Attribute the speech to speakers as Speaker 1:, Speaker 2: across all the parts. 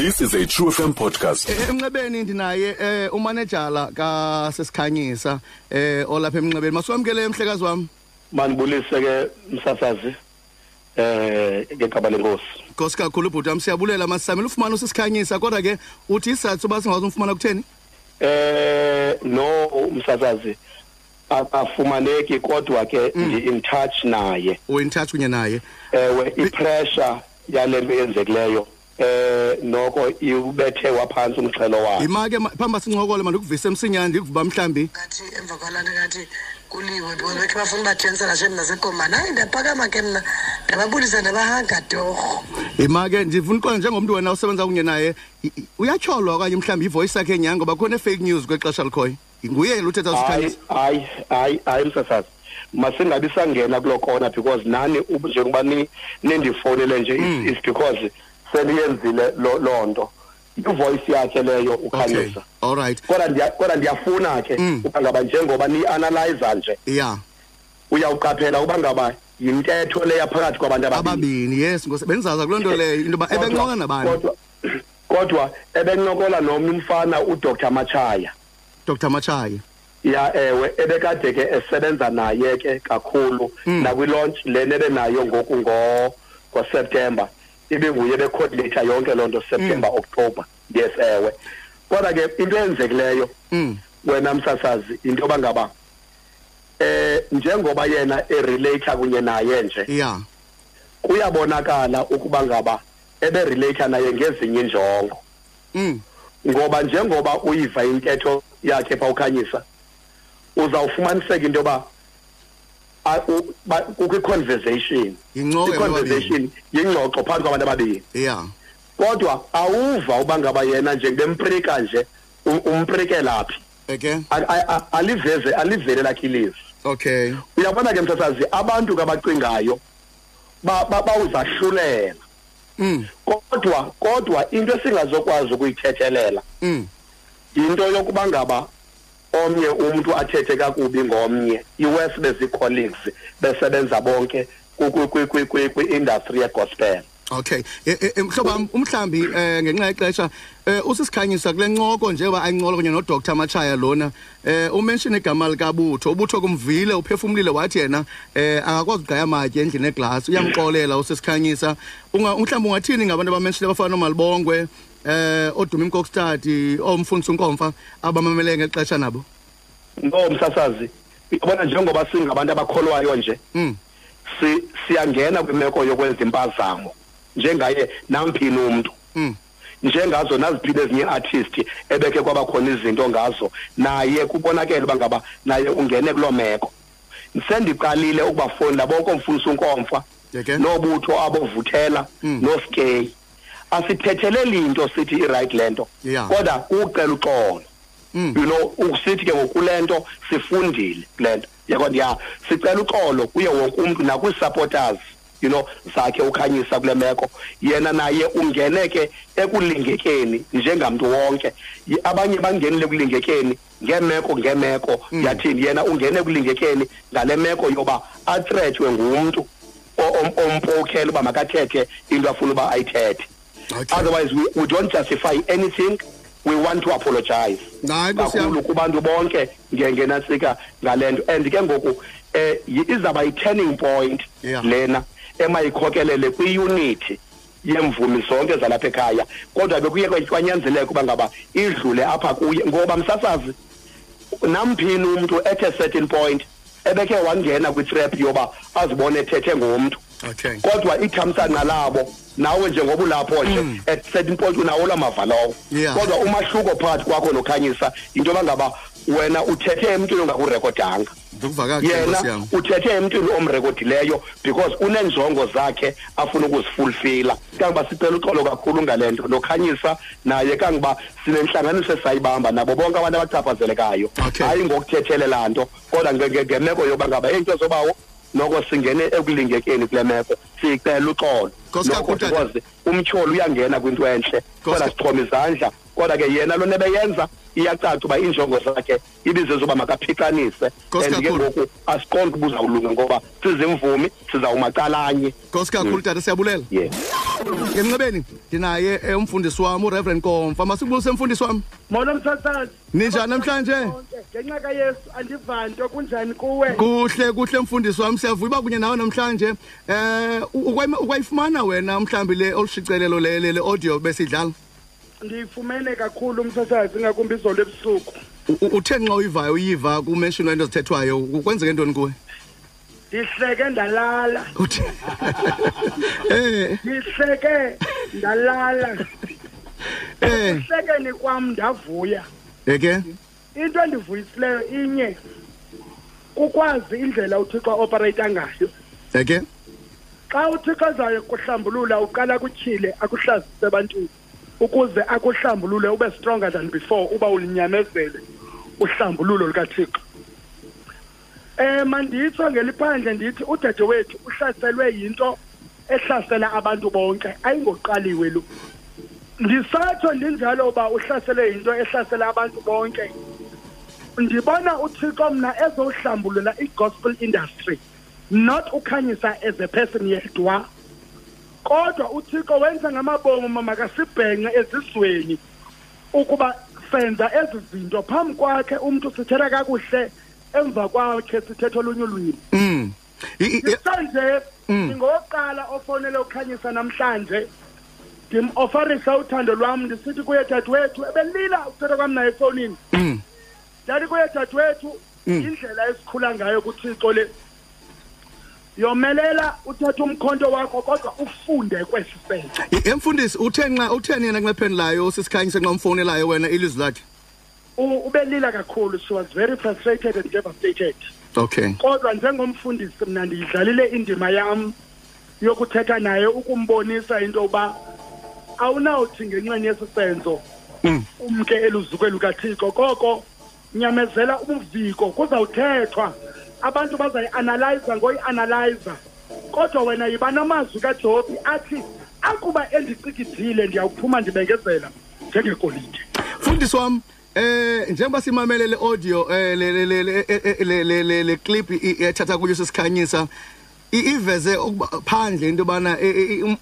Speaker 1: This is a True FM podcast.
Speaker 2: Eh, emncebeni ndinaye eh umanejala ka sesikhanyisa eh olapha emncebeni masiwamkele emhlekazi wami
Speaker 3: manibulise ke msasazi eh ngegaba lenkosi
Speaker 2: Nkosi kakhulu bhuti wami siyabulela masisamela ufumana usisikhanyisa kodwa ke uthi isizathu soba singazi umfumana kutheni
Speaker 3: eh no msasazi akafumaneki kodwa ke ndi in touch Eh, naye
Speaker 2: u in touch kunye naye
Speaker 3: ewe ipressure yale nto yenzekileyo eh noko iubethe waphantsi umxhelo wakhe
Speaker 2: yimake ma- phamba sincokole mandikuvise emsinyane ndikuvuba mhlambi
Speaker 4: ngathi emva kwalaa nto ngathi kuliwe because bekhe bafuna ubathenisa nashe mna sekomani hayi ndaphakama ke mna ndababulisa ndabahaga torho
Speaker 2: yimake ndifuna uqonda njengomntu wena osebenza kunye naye i- i- uyatyholwa okanye mhlawumbi ivoyice yakhe nyanga ngoba khona fake news kwexesha likhoyo nguye lo uthetha
Speaker 3: hayi
Speaker 2: usisikhanyisa
Speaker 3: hayi hayi hayi msasazi masingabi sangena kulo kona because nani ub- njengoba ni- nindifowunele nje is- is because seniyenzile lo- loo nto ivoyisi yakhe leyo ukhanyisa
Speaker 2: all right
Speaker 3: kodwa ndiya- kodwa ndiyafuna ke
Speaker 2: Mm.
Speaker 3: uba ngaba njengoba niyianalyza nje
Speaker 2: yeah
Speaker 3: uyawuqaphela uba ngaba yintetho leya phakathi kwabantu ababili
Speaker 2: ababini yes ngosi bendizaza kuloo nto leyo into yoba
Speaker 3: Kodwa-
Speaker 2: ebenqoka nabani
Speaker 3: kodwa- kodwa ebencokola nomnye umfana udr matshaya
Speaker 2: dr machaye
Speaker 3: ya ewe ebekade ke esebenza naye ke kakhulu nakwilaunch lenebe nayo ngoku ngo ngoSeptember ibinguye becoordinator yonke loo nto September October yes ewe kodwa ke into eyenzekileyo
Speaker 2: Mm.
Speaker 3: wena msasazi into yoba ngaba eh njengoba yena erelater kunye naye nje
Speaker 2: yeah
Speaker 3: kuyabonakala ukuba ngaba eberelater naye ngezinye injongo
Speaker 2: mm
Speaker 3: ngoba njengoba uyiva intetho yakhe pha ukhanyisa uzawufumaniseka into yoba a- u- ba- kukho i-conversation
Speaker 2: Yingxoxo yabantu
Speaker 3: i-conversation yingxoxo phakathi kwabantu ababini
Speaker 2: yeah
Speaker 3: kodwa awuva uba ngaba yena nje bemprika nje u- umprikela phi
Speaker 2: okay
Speaker 3: A- a- a- aliveze alivele lakhe ilizwi
Speaker 2: okay
Speaker 3: uyabona ke msasazi abantu kabacingayo ba- ba- bawuzahlulela
Speaker 2: mm
Speaker 3: kodwa kodwa into esingazokwazi ukuyithethelela
Speaker 2: mm
Speaker 3: into yokuba ngaba omnye umuntu athethe kakubi ngomnye iwes bezi-colleagues besebenza bonke kwi-industry yegospel
Speaker 2: okay E- e- e, mhlobo wam umhlambi eh ngenxa yexesha eh usisikhanyisa kule ncoko njengoba ayincola kunye nodr machaya lona eh umention igama likabutho ubutho kumvile uphefumlile wathi yena eh angakwazi ugqaya amatye endlini eglass uyamxolela usisikhanyisa Unga- mhlawumbi ungathini ngabantu abamenshini abafana nomalibongwe eh oduma inkokstadi omfundisi unkomfa abamamele ngexesha nabo
Speaker 3: no msasazi uyabona njengoba singabantu abakholwayo nje
Speaker 2: mm
Speaker 3: si- siyangena kwimeko yokwenza impazamo njengaye namphini umntu
Speaker 2: mm
Speaker 3: njengazo naziphile ezinye artist ebeke kwabakhona izinto ngazo naye kubonakele uba ngaba naye ungene kuloo meko sendiqalile ukubafowunela bonke omfundisi unkomfa
Speaker 2: Okay.
Speaker 3: nobutho abovuthela
Speaker 2: Eh? Mm.
Speaker 3: noskay asithethele linto sithi iright lento
Speaker 2: Yeah.
Speaker 3: kodwa kucela uxolo
Speaker 2: Mm.
Speaker 3: you know ukusithi ke ngokulento sifundile kulento yakho ya sicela uxolo kuye wonke umuntu nakwi-supporters you know zakhe ukhanyisa kule meko yena naye ungene ke ekulingekeni njengamntu wonke Ye- abanye bangenile ekulingekeni ngemeko ngemeko
Speaker 2: Mm.
Speaker 3: yathini yena ungene ekulingekeni ngale meko yoba atrethwe ngumntu o- om- ompokele uba makathethe into afuna uba ayithethe
Speaker 2: okay
Speaker 3: otherwise we, we don't justify anything we want to apologize
Speaker 2: Hayi, Nkosi yam.
Speaker 3: kakhulu kubantu bonke nge- ngenantsika ngale nto and ke ngoku eh yi- izawuba yi-turning point
Speaker 2: Yeah.
Speaker 3: lena Eh, emayikhokelele kwiyunithi yemvumi zonke zalapha ekhaya kodwa bekuye kwe- kwanyanzeleka uba ngaba idlule apha kuye ngoba msasazi namphini umntu ethe certain point ebekhe wangena kwitrap yoba azibone ethethe ngomntu
Speaker 2: okay
Speaker 3: kodwa ithamsanqa labo nawe njengoba ulapho nje at certain point unawo la mava lawo
Speaker 2: Yeah.
Speaker 3: kodwa umahluko phakathi kwakho nokhanyisa into yoba ngaba wena uthethe emntwini ongakurekodanga
Speaker 2: ndikuvaka ke nkosi
Speaker 3: yena
Speaker 2: yami
Speaker 3: uthethe emntwini omrekodileyo because unenjongo zakhe afuna ukuzifulfila kangoba sicela uxolo kakhulu ngale nto nokhanyisa naye kangoba sinentlanganiso esayibamba nabo bonke abantu abachaphazelekayo
Speaker 2: Okay.
Speaker 3: hayi ngokuthethelela nto kodwa nge- nge- ngemeko yoba ngaba eyinto zobawo noko singene ekulingekeni kule meko sicela uxolo
Speaker 2: Nkosi
Speaker 3: Noko
Speaker 2: kakhulu, tata.
Speaker 3: because umtyholo uyangena kwinto entle
Speaker 2: Nkosi
Speaker 3: kodwa
Speaker 2: kakhulu.
Speaker 3: sixhoma izandla kodwa ke yena lona ebeyenza iyacaca uba iinjongo zakhe ibizezoba makaphicanise
Speaker 2: Nkosi
Speaker 3: and ke
Speaker 2: kakhulu.
Speaker 3: ngoku asiqonda uba uzawulunga ngoba sizimvumi sizawumacalanye
Speaker 2: nkosi kakhulu tata siyabulela
Speaker 3: yes
Speaker 2: ngenxebeni ndinaye eh, umfundisi wam ureverend komfa masikubulise mfundisi wam
Speaker 5: Molo msasazi.
Speaker 2: Ninjani namhlanje?
Speaker 5: Ngenxa kaYesu andivanto kunjani kuwe?
Speaker 2: kuhle kuhle mfundisi wam siyavuya uba kunye nawe namhlanje eh u- ukwayima- ukwayifumana wena mhlawumbi le olushicilelo le le- le audio besidlala
Speaker 5: Ndifumene kakhulu umsasazi ngakumbi izolo ebusuku.
Speaker 2: U- u- uthe nxa uyivayo uyiva kumenshini wento zithethwayo u- kwenzeke ntoni kuwe
Speaker 5: Ndihleke ndalala.
Speaker 2: Uthe- eh
Speaker 5: Ndihleke ndalala.
Speaker 2: eh
Speaker 5: Ndihlekeni kwam ndavuya.
Speaker 2: eke
Speaker 5: Into endivuyisileyo inye. Kukwazi indlela uThixo operate ngayo.
Speaker 2: eke
Speaker 5: Xa uThixo ezayo kuhlambulula uqala kutyhile akuhlazise ebantwini ukuze akuhlambulule ube stronger than before uba ulinyamezele uhlambululo lukaThixo. Eh manditso ngeliphandle ndithi udade wethu uhlaselwe yinto ehlasela abantu bonke ayingoqaliwe lo. Ndisatsho ndinjalo uba uhlaselwe yinto ehlasela abantu bonke. Ndibona uThixo mna ezohlambulula igospel industry not ukhanyisa as a person yedwa kodwa uthixo wenza ngamabomu mamakasibhenqe ezizweni ukuba senza ezi zinto phambi kwakhe umntu sithetha kakuhle emva kwakhe sithetha olunye ulwimi
Speaker 2: mm I- i-
Speaker 5: Isanje ngoqala ofonele ukhanyisa namhlanje ndimofarisa uthando lwam ndisithi kuye dadwethu ebelila ukuthetha kwam naye efowunini
Speaker 2: Mm.
Speaker 5: ndathi kuye dadwethu indlela esikhula ngayo kuthixo le yomelela uthathe umkhonto wakho kodwa ufunde kwesi senzo
Speaker 2: i- emfundisi uthe nxa utheni yena nxepheni layo sisikhanyise nxa umfowunelayo wena ilizwi lakhe
Speaker 5: U- ubelila kakhulu she was very frustrated and devastated
Speaker 2: okay
Speaker 5: kodwa njengomfundisi mna ndiyidlalile indima yam yokuthetha naye ukumbonisa into yoba awunawuthi ngenxeni yesi senzo umke eluzukwe lukathixo koko nyamezela umviko kuzawuthethwa abantu bazayianalyza ngoyianalyza kodwa wena yiba namazwi kajobi athi akuba endicikidile ndiyawuphuma ndibengezela njengegolide
Speaker 2: Mfundisi wami eh njengoba simamele le audio eh le le le le- eh, eh, le le le le clip i- ethatha kuyo sesikhanyisa i- iveze ukuba phandle into bana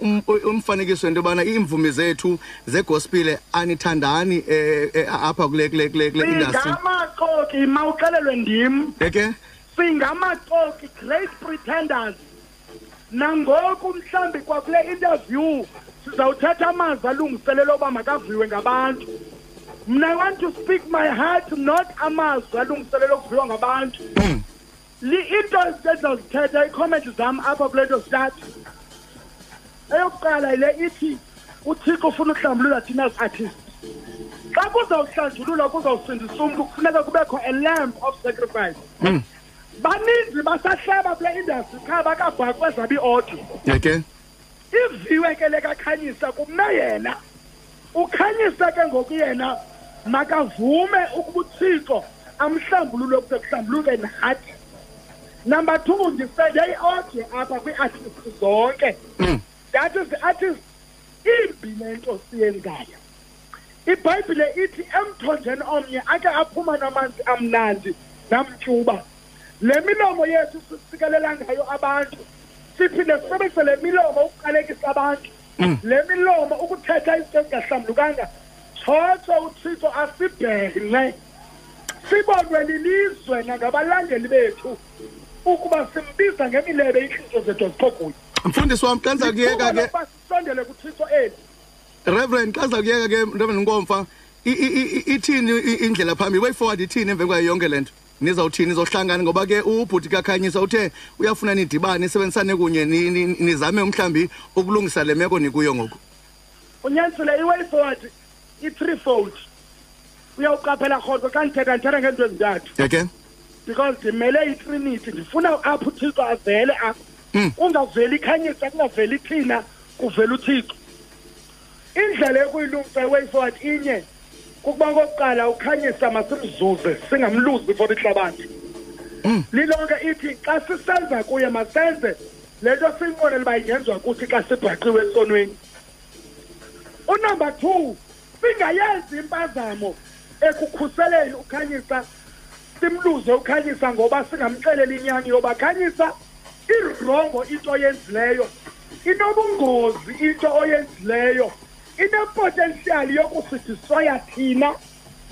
Speaker 2: um, umfanekiso into bana imvumi zethu zegospel anithandani eh, eh, apha kule kule kule kule industry
Speaker 5: singamaxoki mawuxelelwe ndim
Speaker 2: eke
Speaker 5: singamaxoki great pretenders nangoku mhlambi kwakule interview sizawuthatha amazwi alungiselelwe uba makaviwe ngabantu mna i want to speak my heart not amazwi alungiselelwe ukuviwa ngabantu Li- into endizawuzithetha iikhomenti zam apha kule nto zitathu eyokuqala yile ithi uthixo ufuna uhlambulula thina as artists xa kuzawuhlanjululwa kuzawusindisa umntu kufuneka kubekho a lamp of sacrifice baninzi basahlaba kule industry qha bakabhakwe zabi odwa
Speaker 2: eke
Speaker 5: iviwe ke lekakhanyisa kume yena ukhanyisa ke ngoku yena makavume ukuba uthixo amhlambulule ukuze kuhlambuluke nathi number two ndisende iodye apha kwii-artist zonke that is the artist imbi le nto siyenzayo ibhayibhile ithi emthonjeni omnye ake aphuma namanzi amnandi namtyuba le milomo yethu sisikelela ngayo abantu siphinde sisebenzise le milomo ukuqalekisa abantu le milomo ukuthetha izinto ezingahlambulukanga thotsho uthixo asibhenxe sibonwe lilizwe nangabalandeli bethu ukuba simbiza ngemilebe iintliziyo zethu azikho kuyo
Speaker 2: mfundisi wami kanza kuyeka ke
Speaker 5: Sithuba lokuba sisondele kuthixo eli
Speaker 2: Reverend kanza kuyeka ke Reverend Nkomfa i- i- i- ithini i- indlela phambili way forward ithini emva kwayo yonke lento nizawuthini nizohlangana ngoba ke ubhuti kakhanyisa uthe uyafuna nidibane sebenzisane kunye ni- ni- nizame mhlambi ukulungisa le meko nikuyo ngoku
Speaker 5: unyanisile i-way forward i-threefold uyawuqaphela rhoqo xa ndithetha ndithetha ngeento ezintathu
Speaker 2: yeke
Speaker 5: because ndimele itrinity ndifuna apho uthixo avele apho kungaveli ikhanyisa kungaveli thina kuvele uthixo indlela yokuyilungisa iway forward inye kukuba kokuqala ukhanyisa masimzuze singamluzi for ihlabathi lilonke ithi xa sisenza kuye masenze le nto siyinqonele uba ingenziwa kuthi xa sibhaqiwe esonweni unumber two singayenzi impazamo ekukhuseleni ukhanyisa simluze ukhanyisa ngoba singamxeleli inyani yoba khanyisa irongo into oyenzileyo inobungozi into oyenzileyo inepotential yokusidistroya thina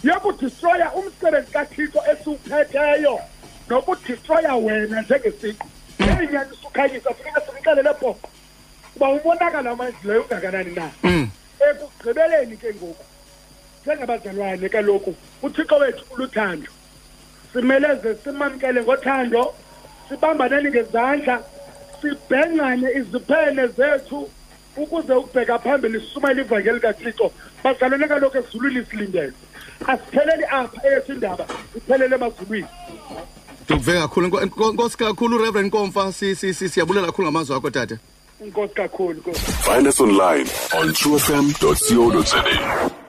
Speaker 5: yokudistroya umsebenzi kathixo esiwuphetheyo nokudistroya wena njengesiqu ngeyinyani sukhanyisa funeka sikuxelele bhoqo uba umonakalo amanzileyo ungakanani na ekugqibeleni ke ngoku njengabazalwane kaloku uthixo wethu uluthando simeleze simamkele ngothando sibambaneni ngezandla sibhengane iziphene zethu ukuze ukubheka phambili sisumayele ivangeli likathixo bazalwane kaloku ezulwini silindele asipheleli apha eyethu indaba iphelele emazulwini
Speaker 2: ndikuve kakhulu Enko- enko- enkosi kakhulu reverend komfa Si- si- si- siyabulela kakhulu ngamazwi akho tata
Speaker 5: inkosi kakhulu Nkosi.
Speaker 1: Find us online on truefm.co.za.